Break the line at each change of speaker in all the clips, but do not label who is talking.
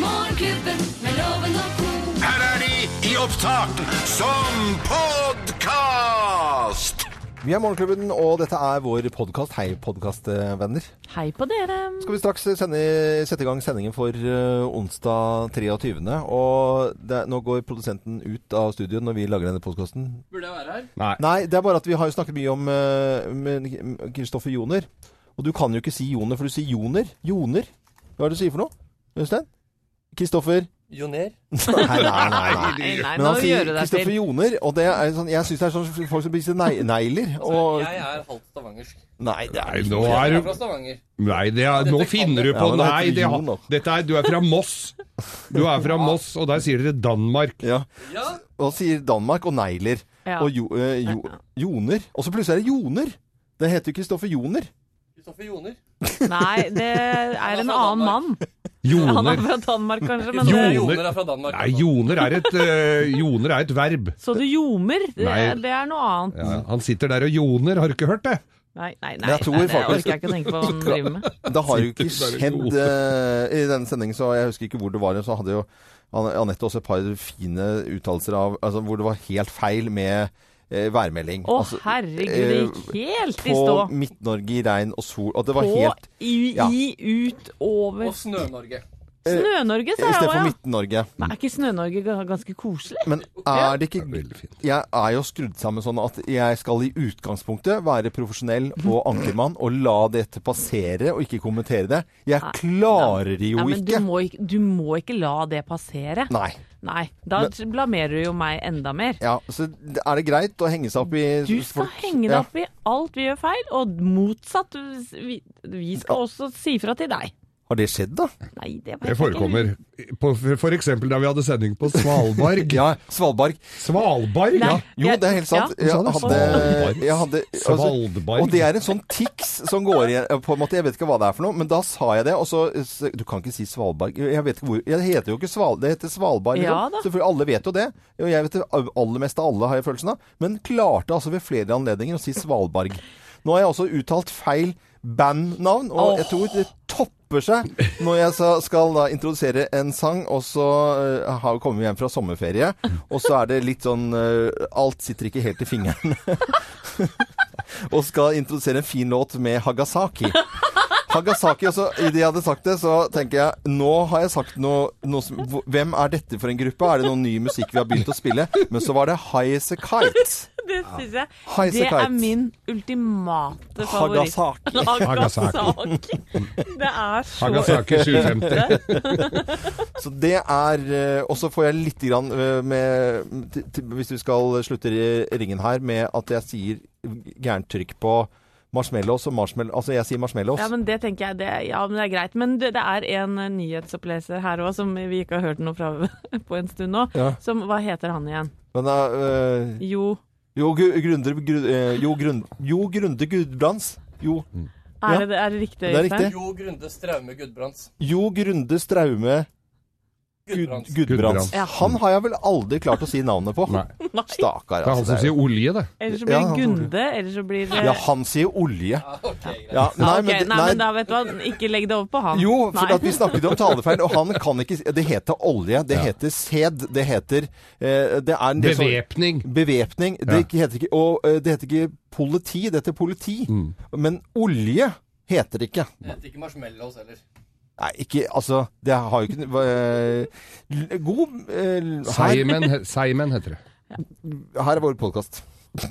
Morgenklubben med loven og ko.
Her er de i opptak som podkast!
Vi er Morgenklubben, og dette er vår podkast. Hei, podkastvenner.
Hei på dere.
Skal vi straks sende, sette i gang sendingen for eh, onsdag 23. Og det, nå går produsenten ut av studio når vi lager denne podkasten.
Burde jeg være her?
Nei, det er bare at vi har jo snakket mye om eh, med Kristoffer Joner. Og du kan jo ikke si Joner, for du sier Joner. Joner. Hva er det du sier for noe? Øystein? Kristoffer?
Joner?
Nei, nei, nei. nei.
Nei, Eh, nei,
Men
nå
han
gjør
sier
du deg
Kristoffer
til.
Joner, og det er sånn, jeg syns det er sånn folk som spiser nei- negler.
Altså,
Og
Jeg er halvt stavangersk.
Nei, det er
Nei, nå
Jeg
er
er
du
fra Stavanger.
Nei, det er, nå
Dette
finner du
kan-
på
Ja, men det er
Nei,
ikke
det
Jon, da.
har, dette er, du er fra Moss. Du er fra Moss, og der sier dere Danmark.
ja.
Ja,
Og sier Danmark og negler.
Ja.
Og jo, eh, jo, Joner. Og så plutselig er det Joner. Det heter jo Kristoffer Joner.
Kristoffer Joner.
Nei, det er
Altså,
en annen mann. Han er
Joner.
fra Danmark, kanskje. Men
Kristoffer
det,
Jo.
Joner er fra Danmark. altså.
Nei, joner er et, eh, joner er et verb.
så du ljomer? Det,
Nei.
det er noe annet.
Ja, han sitter der og joner, har du ikke hørt det?
Nei, nei,
Men
nei.
jeg tror
nei det
faktisk-
orker jeg ikke å tenke på hva han driver med.
Det har jo ikke
Sitter bare
skjedd eh, i denne sendingen, så jeg husker ikke hvor det var. Så hadde jo An- Anette også et par fine uttalelser av altså, hvor det var helt feil med eh, værmelding.
Å,
Altså,
herregud.
eh,
Helt i
på
stå.
Midt-Norge i regn og sol. Og det var
På,
helt
i,
ja. Eh,
i, ut,
Og
over.
Snø-Norge.
Snø-Norge,
I
sa jeg
stedet
òg,
for
ja.
Midt-Norge.
Nei, er ikke Snø-Norge ga- ganske koselig?
Men er det
Det er
ikke
Veldig fint.
Jeg er jo skrudd sammen sånn at jeg skal i utgangspunktet være profesjonell og ankermann og la dette passere og ikke kommentere det. Jeg klarer det
Ja,
jo
men du
ikke.
må, ikke- du må ikke la det passere.
Nei.
Nei, da
Men-
t- blamerer du jo meg enda mer.
Ja, så er det greit å henge seg opp i
Du skal
folk-
henge deg
Ja.
opp i alt vi gjør feil, og motsatt. du- Vi, vi skal også si fra til deg.
Har det skjedd, da?
Nei, det
Det
vet jeg ikke.
forekommer. På, for eksempel da vi hadde sending på Svalbard.
Ja, Svalbard.
Svalbard?
Nei.
Ja.
Jo, det er helt sant.
Ja.
Jeg
Sa du
hadde,
Svalbard?
jeg hadde altså,
Svalbard.
Og det er en sånn tics som går igjen, på en måte. Jeg vet ikke hva det er for noe, men da sa jeg det, og så Du kan ikke si Svalbard. Jeg vet ikke hvor Jeg heter jo ikke Sval... Det heter Svalbard. liksom.
Ja da.
Selvfølgelig, alle vet jo det. Og jeg vet det aller meste av alle, har jeg følelsen av. Men klarte altså ved flere anledninger å si Svalbard. Nå har jeg også uttalt feil bandnavn, og jeg tror det topper seg når jeg sa- skal da introdusere en sang, og så eh, har- kommer vi hjem fra sommerferie, og så er det litt sånn eh, Alt sitter ikke helt i fingeren. og skal introdusere en fin låt med Hagasaki. Hagasaki også, I det jeg hadde sagt det, så tenker jeg Nå har jeg sagt noe, noe som, hvor- Hvem er dette for en gruppe? Er det noen ny musikk vi har begynt å spille? Men så var det High as a Kite.
Det synes jeg.
High as a
Det er
Kite.
min ultimate favoritt.
Hagasaki.
Hagasaki. Det er så
Hagasaki 750.
Så det er eh, Og så får jeg litt grann eh, med til, til, Hvis du skal slutte i ringen her med at jeg sier gærent trykk på marshmallows og marshmallows Altså, jeg sier marshmallows.
ja, men det tenker jeg, det, ja, men det er greit. Men det, det er en eh, nyhetsoppleser her òg, som vi ikke har hørt noe fra på en stund nå.
Ja.
Som, hva heter han igjen?
Men, eh,
Jo
jo, Gu- Grunde Gru- eh, Jo Grund- Jo Grunde Gudbrands. Jo, Ja.
Er det, er det riktig?
Det er
Øystein?
riktig.
Jo Grunde Straume Gudbrands.
jo Grunde Straume Gud,
Gudbrands.
Gudbrands.
Gudbrands.
Ja.
Han har jeg vel aldri klart å si navnet på.
Nei.
Nei.
Stakkar,
Det er han
altså.
som
det er
sier olje, det.
Eller
Ja,
så blir det
han-
Gunde, eller så blir det
jo- Ja, han sier olje.
Ja, ok, greit.
Ja,
Ja, ok,
det-
nei, men da vet du hva, ikke legg det over på han.
Jo, for
Nei.
at vi snakket om talefeil, og han kan ikke Det heter olje, det
Ja.
heter sæd, det heter eh, Det er en del sånn
Bevæpning.
Bevæpning. Det heter ikke Og eh, det heter ikke politi, det heter politi.
Mm.
Men olje heter det ikke.
Jeg heter ikke marshmallows heller.
Nei, ikke Altså, det har jo ikke eh, l- God eh, her,
Simon, Simon heter det.
her er vår podkast.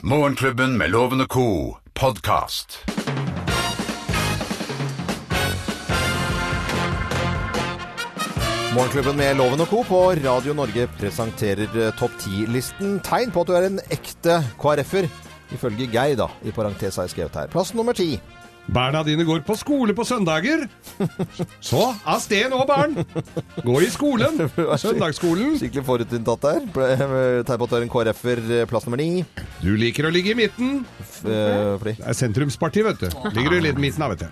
Morgenklubben med Loven og co. podkast.
Morgenklubben med Loven og Co. på Radio Norge presenterer eh, topp 10-listen. Tegn på at du er en ekte KrF-er. Ifølge Geir, da, i parentes har jeg skrevet her. Plass nummer ti.
Barna dine går på skole på søndager. Så av sted nå, barn! Gå i skolen. Søndagsskolen.
Skikkelig forutinntatt der. Ble- eh, Tegn på at du er en KrF-er. eh, Plass nummer ni.
Du liker å ligge i midten.
F- eh, fordi-
Det er sentrumspartiet, vet du. Ligger du litt i midten av, vet du.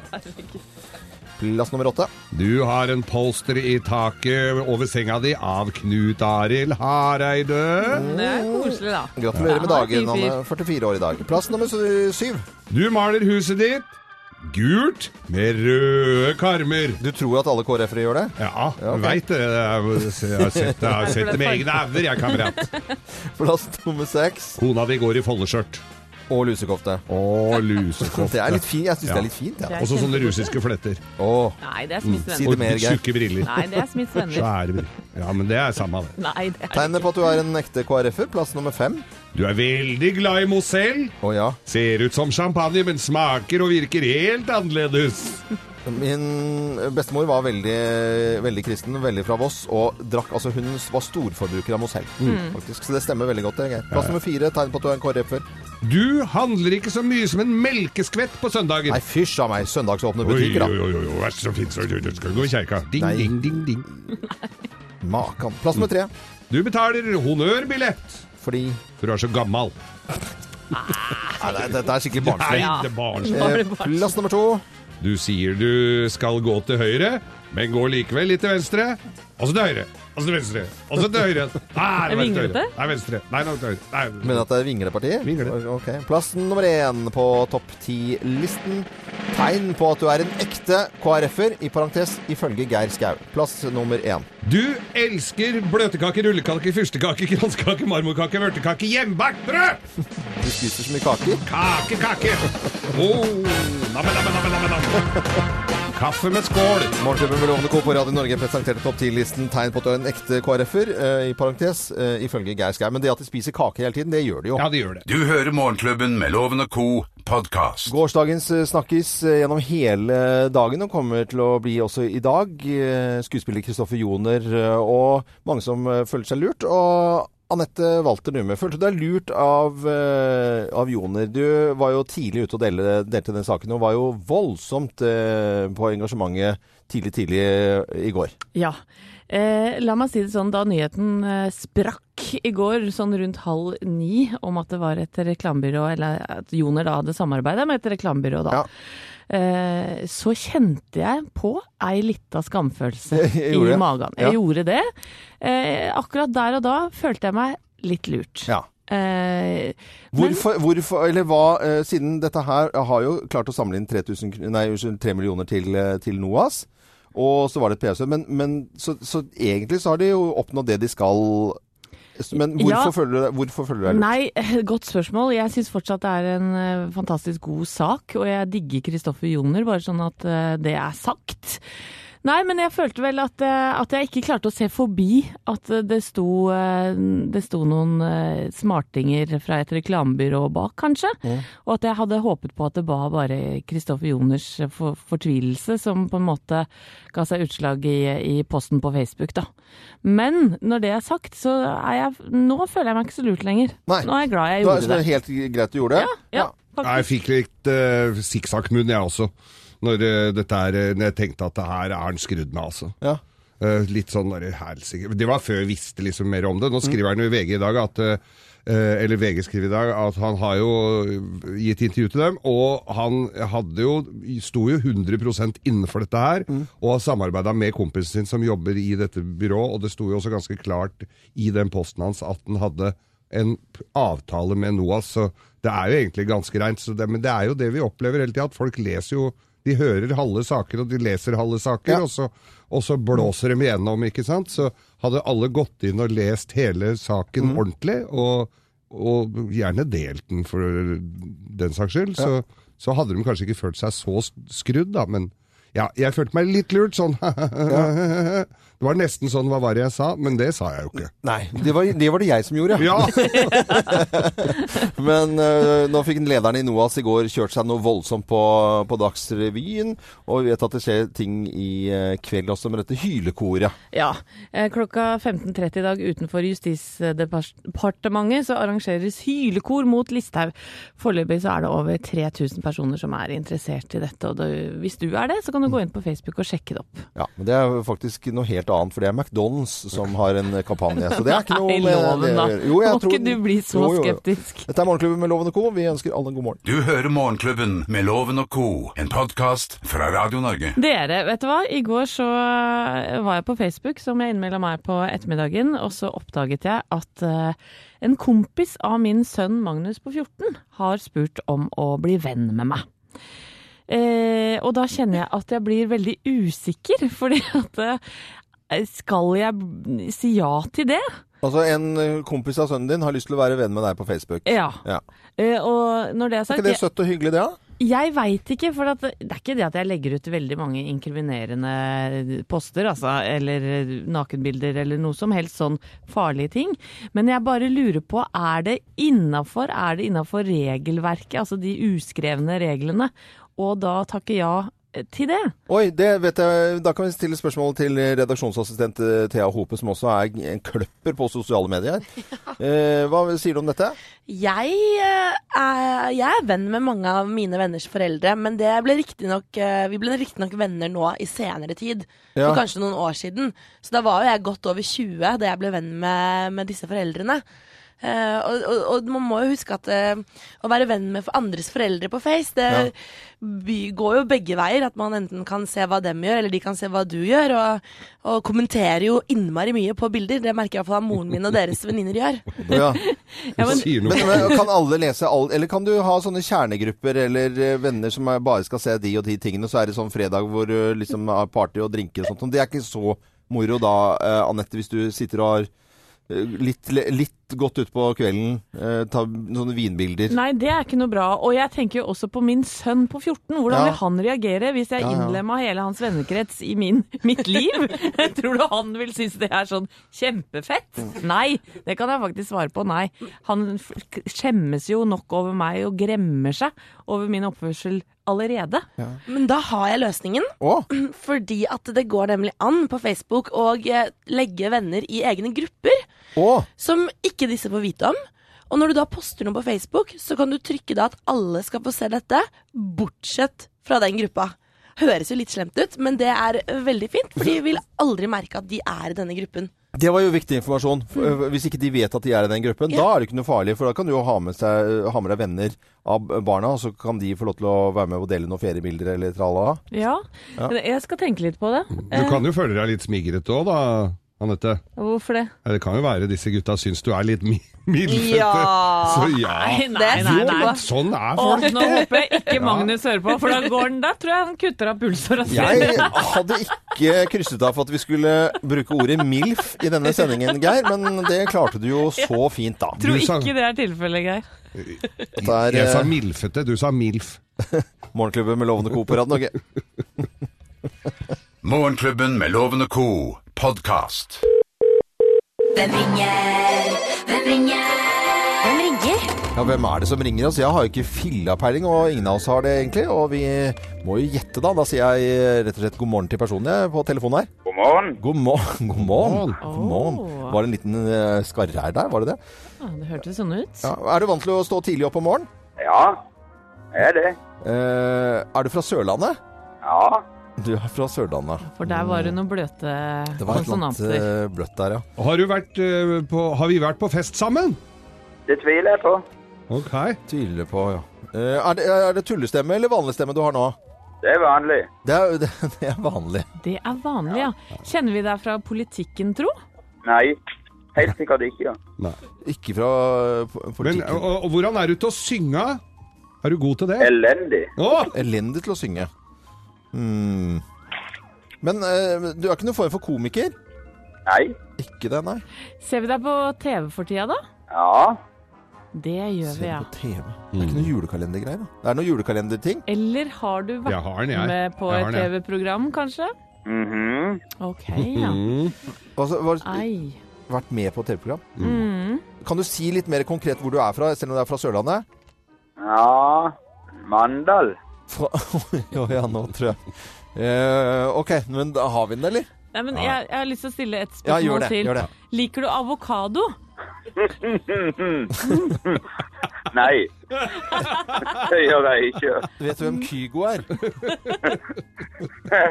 Plass nummer åtte.
Du har en polster i taket over senga di av Knut Arild Hareide.
Det er koselig, da.
Gratulerer med
Ja, han er
dagen.
fin
Han
fyr.
er 44 år i dag. Plass nummer sy- syv.
Du maler huset ditt. gult med røde karmer.
Du tror at alle KrF-ere gjør det?
Ja,
Ja, ok.
veit dere det. Jeg har sett det, jeg har sett det med egne evner, jeg, kamerat.
Plass nummer seks
Kona di går i foldeskjørt
og lusekofte.
og
Det
lusekofte.
er litt fint. Jeg syns
Ja.
det er litt fint, jeg.
Det
Ja.
er
Og så sånne
kjempegodt.
russiske fletter.
Nei, det er Smiths
Mm, si
venner.
det mer,
Og
Geir.
tjukke briller.
Nei, det er Smiths venner.
Svære briller. Ja, men det er samme det.
Nei, det er
Tegnet på at du er en ekte KrF-er. Plass nummer fem.
Du er veldig glad i Mozell.
Å ja.
Ser ut som champagne, men smaker og virker helt annerledes.
Min bestemor var veldig, veldig kristen, veldig fra Voss, og drakk Altså, hun var storforbruker av Mozell, faktisk. Så det stemmer veldig godt. det, Geir. Plass nummer fire. Tegn på at du er en KrF-er.
Du handler ikke så mye som en melkeskvett på søndager.
Nei, fysj av meg. Søndagsåpne
Oi, oi,
butikker, da.
oi, oi, vær så fin, så du skal gå i kjerka. Ding,
Nei.
ding, ding, ding.
Makan. Plass nummer tre.
Du betaler honnørbillett,
Fordi
for du er så gammal.
Nei, det- dette er skikkelig
Nei,
barnslig.
det er barnslig.
bare
Eh,
barnslig.
Plass nummer to.
Du sier du skal gå til høyre, men går likevel litt til venstre. Og så til høyre. Og så til venstre. Og så til høyre. Nei, det var til høyre.
Vinglete?
Nei, venstre. Nei, nå til høyre. Nei.
Men at det er vinglepartier?
Vingle.
Ok. Plass nummer én på topp ti-listen. Tegn på at du er en ekte KrF-er, i parentes ifølge Geir Skau. Plass nummer én.
Du elsker bløtkake, rullekake, fyrstekake, kransekake, marmorkake, vørtekake, hjemmebakt brød!
Du spiser så mye kaker.
Kake, kake! Oh, namme, namme, namme, namme, namme. Kaffe med skål.
Morgenklubben med Lovende Co. på Radio Norge presenterte topp ti-listen tegn på at du er en ekte KrF-er, eh, i parentes eh, ifølge Geir Skau. Men det at de spiser kake hele tiden, det gjør de jo.
Ja, det gjør det.
Du hører Morgenklubben med Loven og Co. podkast.
Gårsdagens eh, snakkis eh, gjennom hele dagen og kommer til å bli også i dag. Eh, Skuespiller Kristoffer Joner eh, og mange som eh, føler seg lurt. Og Anette Walter Numme, følte du deg lurt av, eh, av Joner? Du var jo tidlig ute og delte, delte den saken og var jo voldsomt eh, på engasjementet tidlig, tidlig eh, i går.
Ja. Eh, la meg si det sånn, da nyheten eh, sprakk i går sånn rundt halv ni om at det var et reklamebyrå, eller at Joner da hadde samarbeida med et reklamebyrå, da. Eh, så kjente jeg på ei lita skamfølelse
Jeg
i
gjorde det.
magen. Jeg
Ja.
gjorde det. Eh, akkurat der og da følte jeg meg litt lurt.
Ja.
Eh, men-
Hvorfor, hvorfor, eller hva, eh, siden dette her har jo klart å samle inn 3000, kr- nei, unnskyld, 3 millioner til, eh, til NOAS, og så var det et PSU, men, men så, så egentlig så har de jo oppnådd det de skal, men hvorfor
Ja.
føler du deg, hvorfor føler du deg lurt?
Nei, eh, godt spørsmål. Jeg syns fortsatt det er en eh, fantastisk god sak, og jeg digger Kristoffer Joner, bare sånn at eh, det er sagt. Nei, men jeg følte vel at, eh, at jeg ikke klarte å se forbi at eh, det sto, eh, det sto noen eh, smartinger fra et reklamebyrå bak, kanskje. Og at jeg hadde håpet på at det var bare Kristoffer Joners eh, for, fortvilelse som på en måte ga seg utslag i, i posten på Facebook, da. Men når det er sagt, så er jeg Nå føler jeg meg ikke så lurt lenger.
Nei.
Nå er jeg glad jeg
Da- så
gjorde
det sånn,
det.
er helt greit du gjorde det?
Ja,
Nei, Jeg
faktisk.
fikk litt uh, sikksakkmunn, jeg også. Når, eh, dette er, eh, når jeg tenkte at det her er han skrudd med, altså.
Ja.
Eh, litt sånn der, helsike. Det var før jeg visste liksom mer om det. Nå skriver han jo i VG i dag at eh, eh, eller VG skriver i dag at han har jo gitt intervju til dem, og han hadde jo, sto jo 100 innenfor dette her, og har samarbeida med kompisen sin som jobber i dette byrået, og det sto jo også ganske klart i den posten hans at han hadde en p- avtale med NOAS, så det er jo egentlig ganske reint. så det- Men det er jo det vi opplever hele tida, at folk leser jo de hører halve saker, og de leser halve saker,
Ja.
og, så, og så blåser de igjennom, ikke sant? Så hadde alle gått inn og lest hele saken ordentlig, og, og gjerne delt den for den saks skyld, så, så hadde de kanskje ikke følt seg så s- skrudd, da, men ja, jeg følte meg litt lurt, sånn. Det var nesten sånn, hva var det jeg sa? Men det sa jeg jo ikke.
Nei, det var, det var det jeg som gjorde,
Ja,
Men eh, nå fikk lederen i NOAS i går kjørt seg noe voldsomt på, på Dagsrevyen, og vi vet at det skjer ting i eh, kveld også med dette hylekoret.
ja. Eh, Klokka 15.30 i dag utenfor Justisdepartementet så arrangeres hylekor mot Listhaug. Foreløpig så er det over 3000 personer som er interessert i dette. Og det- hvis du er det, så kan du gå inn på Facebook og sjekke det opp.
Ja, men det er faktisk noe helt annet, for det er McDonald's som har en kampanje. Så det er ikke noe
Nei,
med det
loven,
å
da.
gjøre. Jo, jeg
Må
tror
ikke
den-
du bli så
Jo, jo, jo.
skeptisk.
Dette er Morgenklubben med Loven og Co. Vi ønsker alle en god morgen.
Du hører Morgenklubben med Loven og Co., en podkast fra Radio Norge.
Dere, vet du hva? I går så eh, var jeg på Facebook, som jeg innmelda meg på ettermiddagen, og så oppdaget jeg at eh, en kompis av min sønn Magnus på 14 har spurt om å bli venn med meg. Eh, og da kjenner jeg at jeg blir veldig usikker, fordi at eh, Skal jeg si ja til det?
Altså, en eh, kompis av sønnen din har lyst til å være venn med deg på Facebook.
Ja.
Ja.
Eh, og når det er
Er
sagt
ikke det søtt og hyggelig, det, da?
Jeg veit ikke, for at, det er ikke det at jeg legger ut veldig mange inkriminerende poster, altså, eller nakenbilder eller noe som helst sånn farlige ting. Men jeg bare lurer på, er det innafor? Er det innafor regelverket, altså de uskrevne reglene? Og da takke ja til det.
Oi, det vet jeg. Da kan vi stille spørsmål til redaksjonsassistent eh, Thea Hope, som også er en kløpper på sosiale medier. Eh, hva sier du om dette?
Jeg, eh, er, jeg er venn med mange av mine venners foreldre, men det ble riktig nok, eh, vi ble riktignok venner nå i senere tid.
Ja.
For kanskje noen år siden. Så da var jo jeg godt over 20 da jeg ble venn med, med disse foreldrene. Eh, og, og, og man må jo huske at eh, å være venn med andres foreldre på Face, det
Ja.
by, går jo begge veier. At man enten kan se hva dem gjør, eller de kan se hva du gjør. Og, og kommenterer jo innmari mye på bilder. Det merker jeg iallfall at moren min og deres venninner gjør.
Ja.
Ja, men,
Sier noe.
Men, men kan alle lese all, Eller kan du ha sånne kjernegrupper eller eh, venner som er, bare skal se de og de tingene, så er det sånn fredag hvor du liksom har party og drinker og sånt. Det er ikke så moro da, eh, Anette, hvis du sitter og har eh, litt, litt godt utpå kvelden, eh, ta sånne vinbilder.
Nei, det er ikke noe bra. Og jeg tenker jo også på min sønn på 14.
Ja.
Hvordan vil han reagere hvis jeg
Ja, ja.
innlemma hele hans vennekrets i min, mitt liv? Tror du han vil synes det er sånn kjempefett? Nei, det kan jeg faktisk svare på. Nei. Han f- skjemmes jo nok over meg og gremmer seg over min oppførsel allerede.
Men da har jeg løsningen.
Å,
Fordi at det går nemlig an på Facebook å eh, legge venner i egne grupper
å!
som ikke disse får vite om. Og når du da poster noe på Facebook, så kan du trykke da at alle skal få se dette, bortsett fra den gruppa. Høres jo litt slemt ut, men det er veldig fint, for de vil aldri merke at de er i denne gruppen.
Det var jo viktig informasjon. For, eh, Hvis ikke de vet at de er i den gruppen, da er det ikke noe farlig. For da kan du jo ha med, seg, ha med deg venner av barna, og så kan de få lov til å være med og dele noen feriebilder eller tralala.
Ja. Jeg skal tenke litt på det.
Du kan jo føle deg litt smigret òg, da, Anette.
Hvorfor det?
Ja, Det kan jo være disse gutta syns du er litt mi- mildfødte.
Ja.
Så ja.
nei, nei,
Jo,
nei.
men sånn er
Å,
folk.
nå håper jeg ikke Magnus hører på, for da går han Da tror jeg han kutter av pulsåra si.
Jeg hadde ikke krysset av for at vi skulle bruke ordet MILF i denne sendingen, Geir, men det klarte du jo så fint, da.
Tror
Du sa-
ikke det er tilfellet, Geir.
Dette er
Jeg sa
eh,
milfete, du sa milf.
Morgenklubben med Lovende Co på Radio Norge.
Morgenklubben med Loven og Co. podkast.
Hvem ringer? Hvem ringer? Hvem ringer?
Ja, hvem er det som ringer oss? Jeg har jo ikke fillapeiling, og ingen av oss har det egentlig. Og vi må jo gjette, da. Da sier jeg eh, rett og slett god morgen til personen jeg på telefonen her.
God morgen.
God morgen. God morgen.
Åh.
God morgen. Var det en liten eh, skarre her der, var det det?
Ja, det hørtes sånn ut.
Ja. Er du vant til å stå tidlig opp om morgenen?
Ja, er det?
Eh, er du fra Sørlandet?
Ja.
Du er fra Sørlandet.
For der var det noen bløte
Mm. Det var et eller annet
konsonanter.
eh, bløtt der, ja.
Har, du vært, eh, på, har vi vært på fest sammen?
Det tviler jeg på.
Ok.
Tviler på, ja. Eh, er, det, er det tullestemme eller vanlig stemme du har nå?
Det er vanlig.
Det er, det, det er vanlig.
Det er vanlig, ja. Kjenner vi deg fra politikken, tro?
Nei, helt sikkert ikke.
Ikke fra eh, po-
Men
politikken.
og, og, hvordan er du til å synge? Er du god til det?
Elendig.
Å,
Elendig til å synge. Hmm. Men eh, du er ikke noen form for komiker?
Nei.
Ikke det, nei.
Ser vi deg på TV for tida, da?
Ja.
Det gjør
Se
vi, ja.
på TV. Det
Mm.
er ikke noen julekalendergreier, da. Det er noen julekalenderting.
Eller har du
Jeg
vært
har den, jeg.
med på
Jeg har
et
den, jeg.
TV-program, kanskje?
Mhm.
OK, ja.
Altså, var,
Ei.
vært med på TV-program.
Mm.
Kan du si litt mer konkret hvor du er fra, selv om du er fra Sørlandet?
Ja. Mandal.
Fra Ja, ja, nå tror jeg Eh, OK, men da har vi den, eller?
Nei, men jeg, jeg har lyst til å stille et
Ja,
spørsmål
gjør det.
til.
Gjør det.
Liker du avokado?
Nei. Det gjør jeg ikke.
Vet
Mm.
du hvem Kygo er?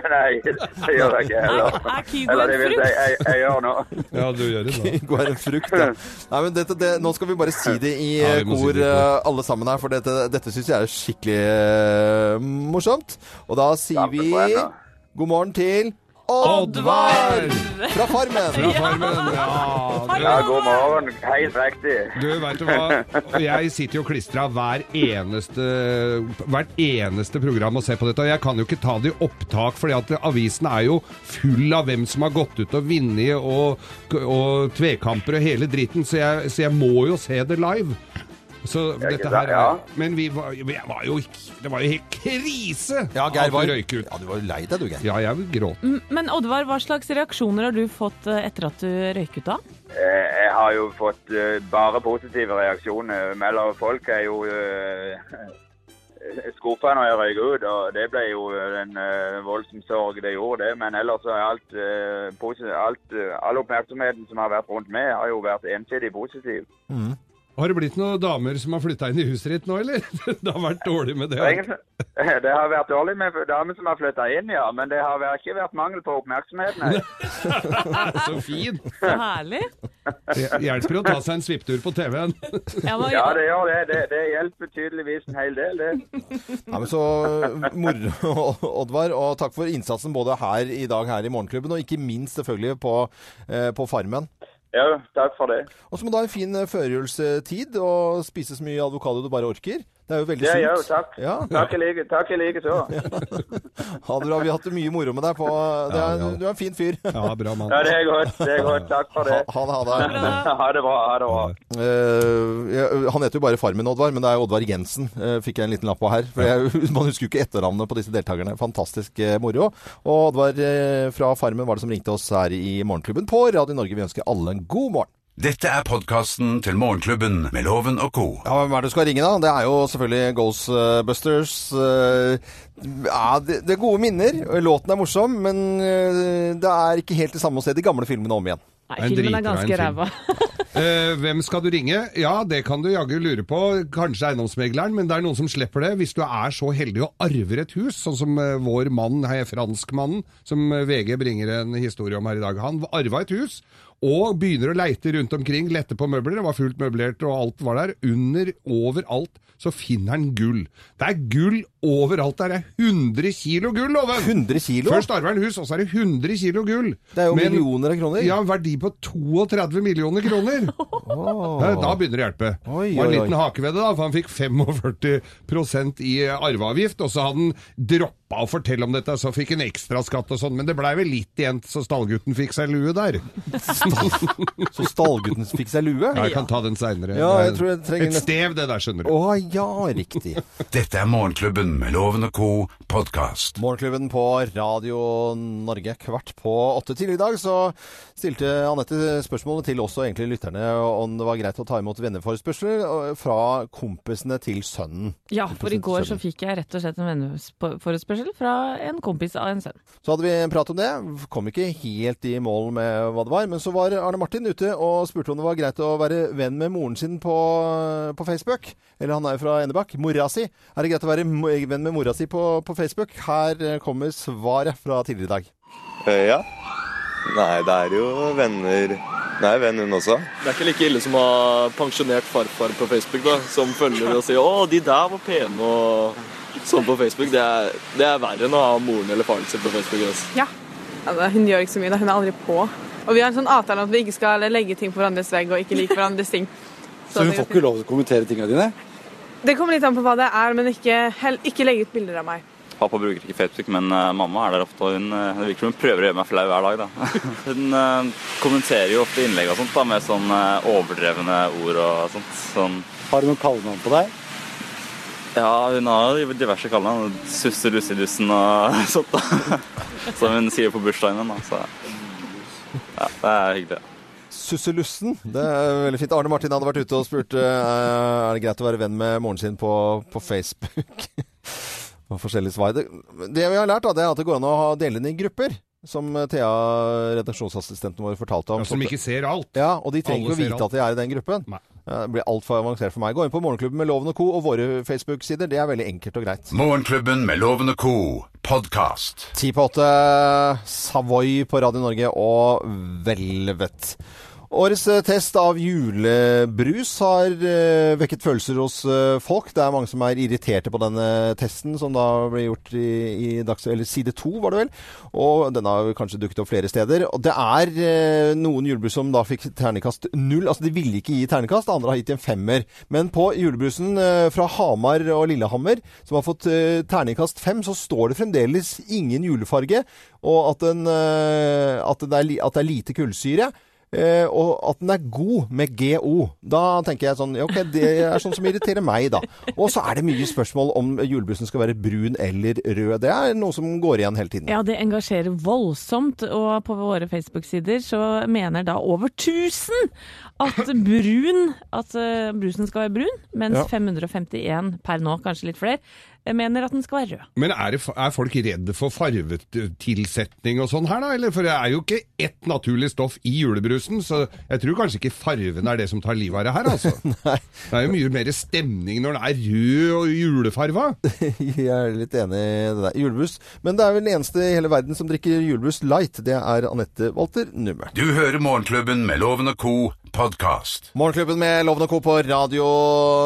Nei, det gjør jeg ikke heller.
Er Kygo
Eller
en
det vil si,
frukt?
jeg, jeg gjør nå.
ja, du gjør det nå.
Går en frukt, ja. Nei, men dette, det, nå skal vi bare si det i
Ja,
eh,
vi må si
kor,
det i kor.
eh, alle sammen her, for dette, dette syns jeg er skikkelig eh, morsomt. Og da sier vi
Dampet på ennå.
god morgen til Oddvar! Fra
Fra
Farmen.
Farmen. Ja,
Ja, god morgen. Helt riktig.
Du, vet du hva? Jeg sitter jo klistra hver eneste, hvert eneste program og ser på dette. Jeg kan jo ikke ta det i opptak, fordi at avisen er jo full av hvem som har gått ut og vunnet, og, og tvekamper og hele dritten, så jeg, så jeg må jo se det live. Så dette her er,
ja.
Men vi var, vi var jo Det var jo helt krise!
Ja, Geir
at
var
vi røyk ut.
Ja, du var jo lei deg, du, Geir.
Ja, jeg gråt.
Men Oddvar, hva slags reaksjoner har du fått eh, etter at du røyk ut da?
Eh, Jeg har jo fått eh, bare positive reaksjoner. Mellom folk er jo eh, skuffa når jeg røyk ut, og det ble jo en eh, voldsom sorg det gjorde det. Men ellers er alt, eh, posi- alt eh, all oppmerksomheten som har vært rundt meg, har jo vært ensidig positiv.
Har det blitt noen damer som har flytta inn i huset ditt nå, eller? Det har vært dårlig med det.
Det er ingen- det har vært dårlig med damer som har flytta inn, ja. Men det har vært- ikke vært mangel på oppmerksomhet, nei.
Så fint!
Så herlig.
Det hjelper å ta seg en svipptur på TV-en.
Ja, men,
Ja, det gjør det. Det, det hjelper tydeligvis en hel del, det.
Ja, men så moro, Oddvar. Og takk for innsatsen både her i dag her i Morgenklubben, og ikke minst selvfølgelig på, eh, på Farmen.
Ja, takk for det.
Og så må du ha en fin eh, førjulstid og spise så mye avokado du bare orker. Det er jo veldig
Det gjør jo,
sunt.
takk.
Ja.
Takk i like, takk i like så.
Ha det bra. Vi har hatt det mye moro med deg. På, det
Ja,
er,
ja.
Du er en fin fyr. Ha,
Ja, bra mann.
Ja, det er godt. Det er godt. Takk for det.
ha det. Ha det.
Ha det bra. Ha det bra.
Eh, jeg- han heter jo bare Farmen Oddvar, men det er Oddvar Jensen, eh, fikk jeg en liten lapp på her. For jeg, man husker jo ikke etternavnet på disse deltakerne. Fantastisk eh, moro. Og Oddvar eh, fra Farmen var det som ringte oss her i Morgenklubben på Radio Norge. Vi ønsker alle en god morgen.
Dette er podkasten til Morgenklubben med Loven og co.
Ja, Hvem er det du skal ringe, da? Det er jo selvfølgelig Ghostbusters. eh, Ja, det, det er gode minner. Låten er morsom, men eh, det er ikke helt det samme å se de gamle filmene om igjen.
nei,
En
filmen
driter av
er
en
ganske
film.
ræva.
Eh, hvem skal du ringe? Ja, det kan du jaggu lure på. Kanskje eiendomsmegleren, men det er noen som slipper det. Hvis du er så heldig å arve et hus, sånn som eh, vår mann, hei, franskmannen, som eh, VG bringer en historie om her i dag. Han arva et hus, og begynner å leite rundt omkring, lette på møbler. Det var fullt møblert, og alt var der. Under, overalt, så finner han gull. Det er gull overalt der. Det er 100 kilo gull, Loven!
100 kilo?
Først arver han hus, og så er det 100 kilo gull.
Det er jo
Men-
millioner av kroner.
Ja, en verdi på 32 millioner kroner. Da, da begynner det å hjelpe.
Oi,
Det var en
oi,
liten
oi.
hake ved det, da, for han fikk 45 i arveavgift, og så hadde han droppa å fortelle om dette, så fikk han ekstraskatt og sånn, men det blei vel litt igjen, så stallgutten fikk seg lue der.
Så stallgutten fikk seg lue?
Ja, jeg kan ta den seinere.
Ja, jeg tror jeg trenger
Et
neste-
stev, det der, skjønner du.
Å ja, riktig.
Dette er Morgenklubben med Loven og co. podkast.
Morgenklubben på Radio Norge kvart på åtte tidligere i dag, så stilte Anette spørsmålet til også egentlig lytterne om det var greit å ta imot venneforespørsler eh, fra kompisene til sønnen.
Ja, for i går så fikk jeg rett og slett en venneforespørsel fra en kompis av en sønn.
Så hadde vi en prat om det. Kom ikke helt i mål med hva det var. Men så var Arne Martin ute og spurte om det var greit å være venn med moren sin på, på Facebook. Eller han er jo fra Enebakk. Mora si. Er det greit å være mo- venn med mora si på, på Facebook? Her eh, kommer svaret fra tidligere i dag.
Eh, Ja. Nei, det er jo venner Det er venn, hun også.
Det er ikke like ille som å ha pensjonert farfar på Facebook, da, som følger og sier 'Å, de der var pene', og sånn på Facebook. Det er, det er verre enn å ha moren eller faren sin på Facebook. Altså.
Ja. Altså, hun gjør ikke så mye, da. Hun er aldri på. Og vi har en sånn avtale om at vi ikke skal legge ting på hverandres vegg og ikke like hverandres ting. Så, hun får ikke lov til å kommentere tingene dine? Det kommer litt an på hva det er, men ikke, hell, ikke legge ut bilder av meg.
Pappa bruker ikke Facebook, men eh, mamma er der ofte. og hun, eh, Det virker som hun prøver å gjøre meg flau hver dag. Da. Hun eh, kommenterer jo ofte innlegg og sånt da, med sånn eh, overdrevne ord og sånt. Sånn. Har hun noe kallenavn på deg? Ja, hun har jo diverse kallenavn. Susse, Lusse, Lussen og sånt. da. Som hun sier på bursdagen min. da, Så ja, det er hyggelig.
Susselussen. Det er veldig fint. Arne Martin hadde vært ute og spurt eh, er det greit å være venn med moren sin på, på Facebook. Og forskjellige svar. Det, det vi har lært, da, det er at det går an å ha- dele inn i grupper. Som Thea, redaksjonsassistenten vår, fortalte om.
Ja, som ikke ser alt.
Ja, og de trenger
Alle
ikke å
ser
vite
alt.
at de er i den gruppen.
Nei.
Eh, Det blir altfor avansert for meg. Gå inn på Morgenklubben med Loven og co. og våre Facebook-sider. Det er veldig enkelt og greit.
Morgenklubben med Loven og co. podkast.
Ti på åtte, Savoy på Radio Norge og Velvet. Årets eh, test av julebrus har eh, vekket følelser hos eh, folk. Det er mange som er irriterte på denne eh, testen, som da ble gjort i, i dags, eller side to, var det vel. Og den har kanskje dukket opp flere steder. Og det er eh, noen julebrus som da fikk ternekast null. Altså, de ville ikke gi ternekast, andre har gitt en femmer. Men på julebrusen eh, fra Hamar og Lillehammer, som har fått eh, ternekast fem, så står det fremdeles ingen julefarge, og at, den, eh, at, det, er, li- at det er lite kullsyre. Eh, og at den er god med GO. Da tenker jeg sånn ja, Ok, det er sånn som irriterer meg, da. Og så er det mye spørsmål om julebrusen skal være brun eller rød. Det er noe som går igjen hele tiden.
Ja, det engasjerer voldsomt, og på våre Facebook-sider så mener da over 1000 at brun, at eh, brusen skal være brun, mens
Ja.
551 per nå, kanskje litt flere, eh, mener at den skal være rød.
Men er, det, er folk redde for farvetilsetning og sånn her, da? Eller? For det er jo ikke ett naturlig stoff i julebrusen, så jeg tror kanskje ikke farven er det som tar livet av det her, altså. Det er jo mye mer stemning når den er rød og julefarva.
Jeg er litt enig i det der. Julebrus. Men det er vel den eneste i hele verden som drikker julebrus light. Det er Anette Walter Numme.
Du hører Morgenklubben med Loven og Co. podkast.
Morgenklubben med Loven og Co. på Radio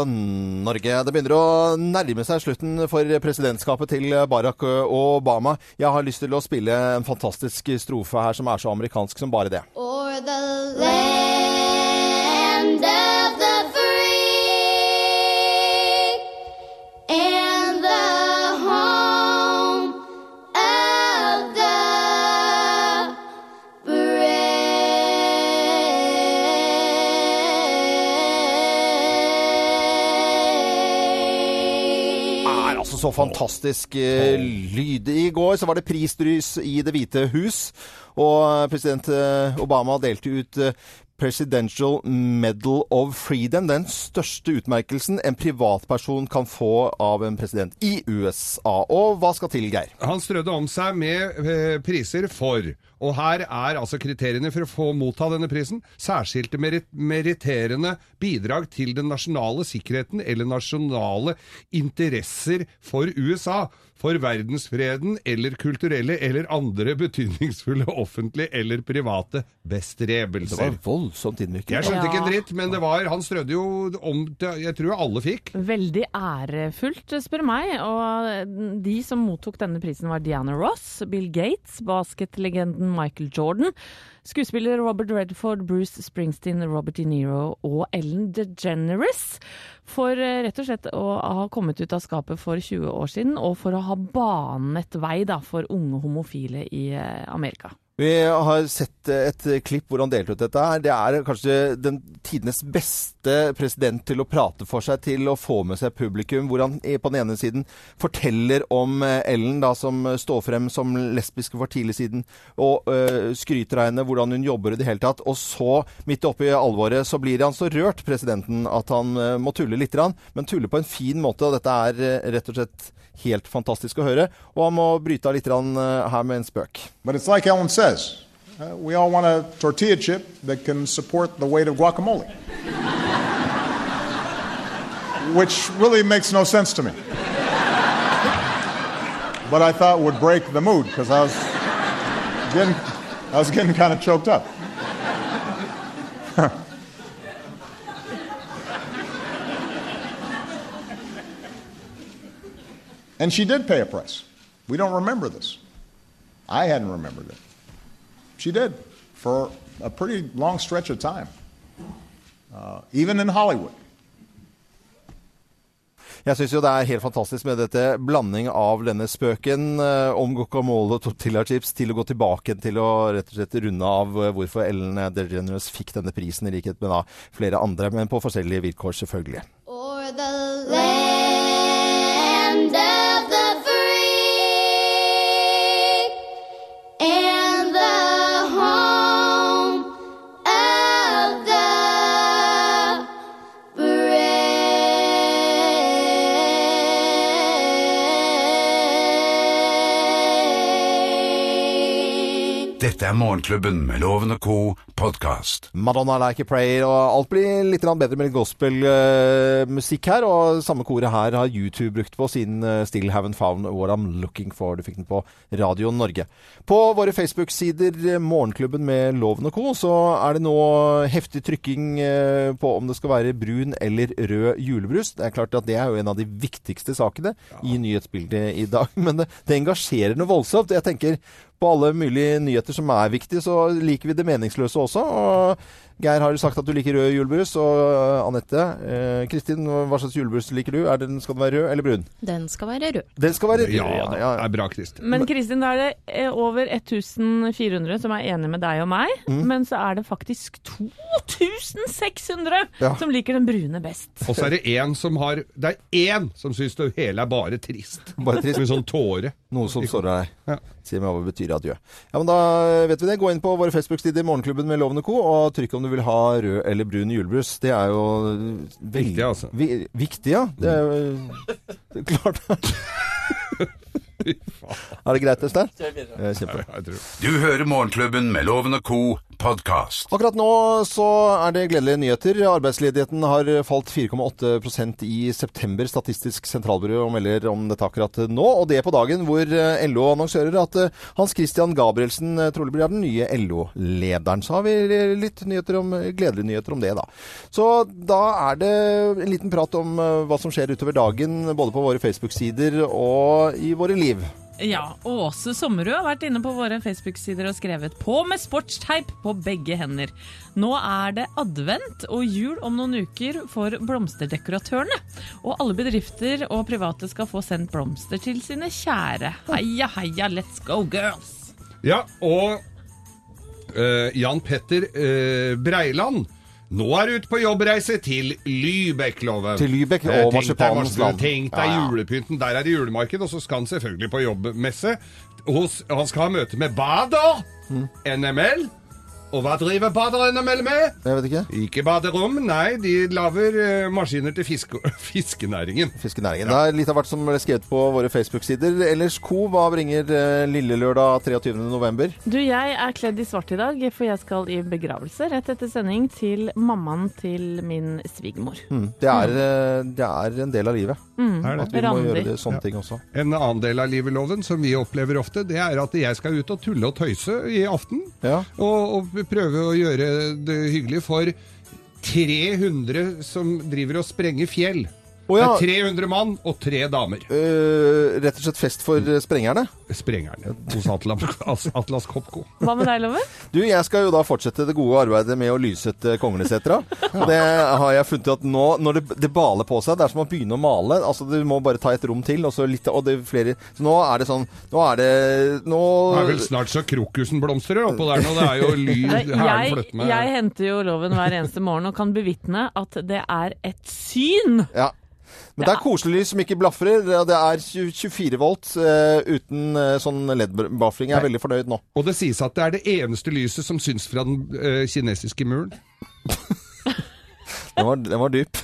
Norge. Det begynner å nærme seg slutten for presidentskapet til Barack Obama. Jeg har lyst til å spille en fantastisk strofe her som er så amerikansk som bare det.
Or the land of the free and the home of the
er altså så fantastisk eh, lyd. I går så var det prisdrys i Det hvite hus, og president eh, Obama delte ut eh, Presidential Medal of Freedom, den største utmerkelsen en privatperson kan få av en president i USA. Og hva skal til, Geir?
Han strødde om seg med eh, priser for, og her er altså kriteriene for å få motta denne prisen, særskilte merit meriterende bidrag til den nasjonale sikkerheten eller nasjonale interesser for USA, for verdensfreden eller kulturelle eller andre betydningsfulle offentlige eller private bestrebelser.
Det var voldsomt innvirkende.
Jeg skjønte ikke
Ja.
en dritt, men det var, han strødde jo om til, jeg tror alle fikk.
Veldig ærefullt, spør meg. Og de som mottok denne prisen var Diana Ross, Bill Gates, basketlegenden Michael Jordan, skuespiller Robert Redford, Bruce Springsteen, Robert De Niro og Ellen DeGeneres. For eh, rett og slett å ha kommet ut av skapet for 20 år siden, og for å ha banet vei da, for unge homofile i eh, Amerika.
Vi har sett et klipp hvor han delte ut dette her. Det er kanskje den tidenes beste president til å prate for seg, til å få med seg publikum. Hvor han på den ene siden forteller om eh, Ellen, da, som står frem som lesbisk for tidlig siden, og øh, skryter av henne, hvordan hun jobber i det hele tatt. Og så, midt oppi alvoret, så blir han så rørt, presidenten, at han øh, må tulle litt, grann, men tulle på en fin måte. Og dette er øh, rett og slett helt fantastisk å høre. Og han må bryte av litt grann, øh, her med en spøk.
But it's like Ellen says uh, we all want a tortilla chip that can support the weight of guacamole, which really makes no sense to me. But I thought would break the mood because I was getting, I was getting kind of choked up. and she did pay a price. We don't remember this. I hadn't remembered it. She did for a pretty long stretch of time, uh, even in Hollywood.
Jeg syns jo det er helt fantastisk med dette blanding av denne spøken eh, om guacamole og tortilla chips til å gå tilbake til å rett og slett runde av eh, hvorfor Ellen DeGeneres fikk denne prisen, i likhet med da flere andre, men på forskjellige vilkår, selvfølgelig.
Or the land of the free and the home of the brave.
Dette Dette er Morgenklubben med Loven og co. podkast.
Madonna Like a Prayer, og alt blir litt grann bedre med gospelmusikk her. Og samme koret her har YouTube brukt på sin eh, Still Haven't Found What I'm Looking For. Du fikk den på Radio Norge. På våre Facebook-sider, eh, Morgenklubben med Loven og co., så er det nå heftig trykking eh, på om det skal være brun eller rød julebrus. Det er klart at det er jo en av de viktigste sakene i nyhetsbildet i dag, men det, det engasjerer noe voldsomt. Jeg tenker på alle mulige nyheter som er viktige, så liker vi det meningsløse også. Og Geir har jo sagt at du liker rød julebrus. Og eh, Anette, eh, Kristin, hva slags julebrus liker du? Er den, skal den være rød eller brun?
Den skal være rød.
Den skal være rød.
Ja, det
er
bra, Kristin.
Men Kristin, da er det eh, over 1400 som er enige med deg og meg.
Mm.
Men så er det faktisk 2600
Ja.
som liker den brune best.
Og så er det én som har Det er én som syns det hele er bare trist.
Bare trist.
Som en sånn tåre.
Noe som sårer deg. Si meg hva det betyr adjø. Ja, men da eh, vet vi det. Gå inn på våre Facebook-sider Morgenklubben med Loven og Co. og trykk om du vil ha rød eller brun julebrus. Det er jo vel-
Viktig, altså. Mm.
Vi, viktig, ja. Det er jo det er klart. er det greit, Øystein?
Kjør videre.
Ja, Kjempe.
Du hører Morgenklubben med Loven og co. podkast.
Akkurat nå så er det gledelige nyheter. Arbeidsledigheten har falt 4,8 i september. Statistisk sentralbyrå melder om dette akkurat nå, og det på dagen hvor eh, LO annonserer at eh, Hans Christian Gabrielsen eh, trolig blir den nye LO-lederen. Så har vi eh, litt nyheter om, gledelige nyheter om det, da. Så da er det en liten prat om eh, hva som skjer utover dagen, både på våre Facebook-sider og i våre liv.
Ja, Åse Sommerud har vært inne på våre Facebook-sider og skrevet 'på med sportsteip på begge hender'. Nå er det advent og jul om noen uker for blomsterdekoratørene. Og alle bedrifter og private skal få sendt blomster til sine kjære. Heia, heia, let's go girls!
Ja, og eh, Jan Petter eh, Breiland. Nå er du ute på jobbreise til Lybekk, loven.
Til Lübeck og
Eh, tenk deg
marsipanens
marsipans-
land.
Tenk deg
Ja, ja.
julepynten. Der er det julemarked, og så skal han selvfølgelig på jobbmesse. Hos, han skal ha møte med Bader,
Mm.
NML. Og hva driver Bader NML med?
Jeg vet ikke.
Ikke baderom, nei. De lager eh, maskiner til fiske, fiskenæringen.
Fiskenæringen. Det er litt av hvert som ble skrevet på våre Facebook-sider. Ellers, Co, hva bringer eh, lille lørdag 23. november?
Du, jeg er kledd i svart i dag, for jeg skal i begravelse rett etter sending til mammaen til min svigermor.
Mm, Det, er, eh, det er en del av livet.
Mm, Er det?
At vi må
Randi.
gjøre det, sånne
Ja.
ting også.
En annen del av livet, loven, som vi opplever ofte, det er at jeg skal ut og tulle og tøyse i aften. Og, og prøve å gjøre det hyggelig for 300 som driver og sprenger fjell.
ja.
Det er 300 mann og tre damer.
Eh, rett og slett fest for eh, sprengerne?
Sprengerne. Hos Atlas, Atlas Copco.
Hva med deg, Loven?
Du, jeg skal jo da fortsette det gode arbeidet med å eh, lyssette Konglesetra. Og det har jeg funnet ut at nå, når det, det baler på seg, det er som å begynne å male. Altså, du må bare ta et rom til, og så litt Og det er flere Så nå er det sånn Nå er det Nå
Det er vel snart så krokusen blomstrer oppå der nå. Det er jo lyd
Nei,
hælen
Jeg,
flytter med.
jeg henter jo loven hver eneste morgen og kan bevitne at det er et syn.
Ja. Men det er koselys som ikke blafrer. Det er 24 volt eh, uten eh, sånn LED-blafring. Jeg er veldig fornøyd nå.
Og det sies at det er det eneste lyset som syns fra den eh, kinesiske muren.
Den var, den var dyp.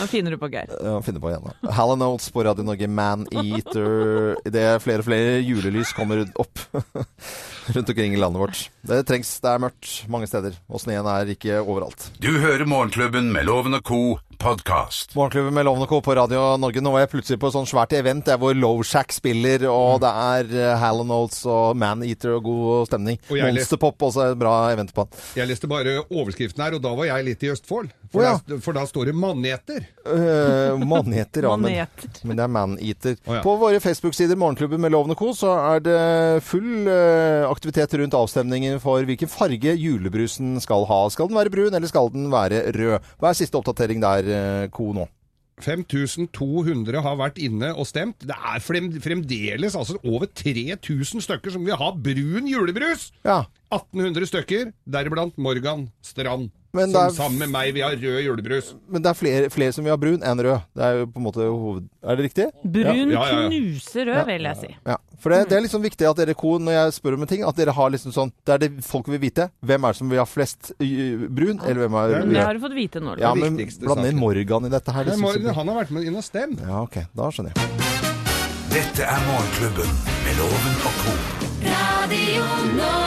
Nå finner du på Geir.
Ja, finne på igjen da. Hall Oates på Radio Norge, Man Eater Det er flere og flere julelys kommer opp rundt omkring i landet vårt. Det trengs. Det er mørkt mange steder, og sneen er ikke overalt.
Du hører Morgenklubben med Loven og co. podkast.
Morgenklubben med Lovende Co. på Radio Norge. Nå var jeg plutselig på et sånn svært event der hvor Lowshack spiller, og det er Hall Oates og Man Eater Mm. og god stemning.
Og jeg-
Monsterpop også er et bra event på den.
Jeg leste bare overskriften her, og da var jeg litt i Østfold. For,
Å, ja.
da, for da står det 'maneter'.
Uh, maneter, ja. Men,
Maneter.
men det er maneater.
Å, ja.
På våre Facebook-sider Morgenklubben med Loven og Co. så er det full eh, aktivitet rundt avstemningen for hvilken farge julebrusen skal ha. Skal den være brun, eller skal den være rød? Hva er siste oppdatering der, eh, Co. nå?
5200 har vært inne og stemt. Det er frem, fremdeles altså over 3000 stykker som vil ha brun julebrus! 1800 stykker, deriblant Morgan Strand.
Men
som
det er-
sammen med meg vil ha rød julebrus.
Men det er flere, flere som vil ha brun enn rød. Det er jo på en måte hoved... Er det riktig?
Brun
Ja.
knuser rød, vil jeg si.
Ja, for det, det er liksom viktig at dere ko, når jeg spør om en ting, at dere har liksom sånn Det er det folk vil vite. Hvem er det som vil ha flest ø, brun, eller hvem er
Men det har du fått vite nå.
Ja,
Loven.
men bland inn Morgan i dette
Nei,
her. Det synes jeg
Morgan,
blir-
han har vært med inn og stemt.
Ja, ok. Da skjønner jeg.
Dette er Morgenklubben med Loven og co.
Radio Norge.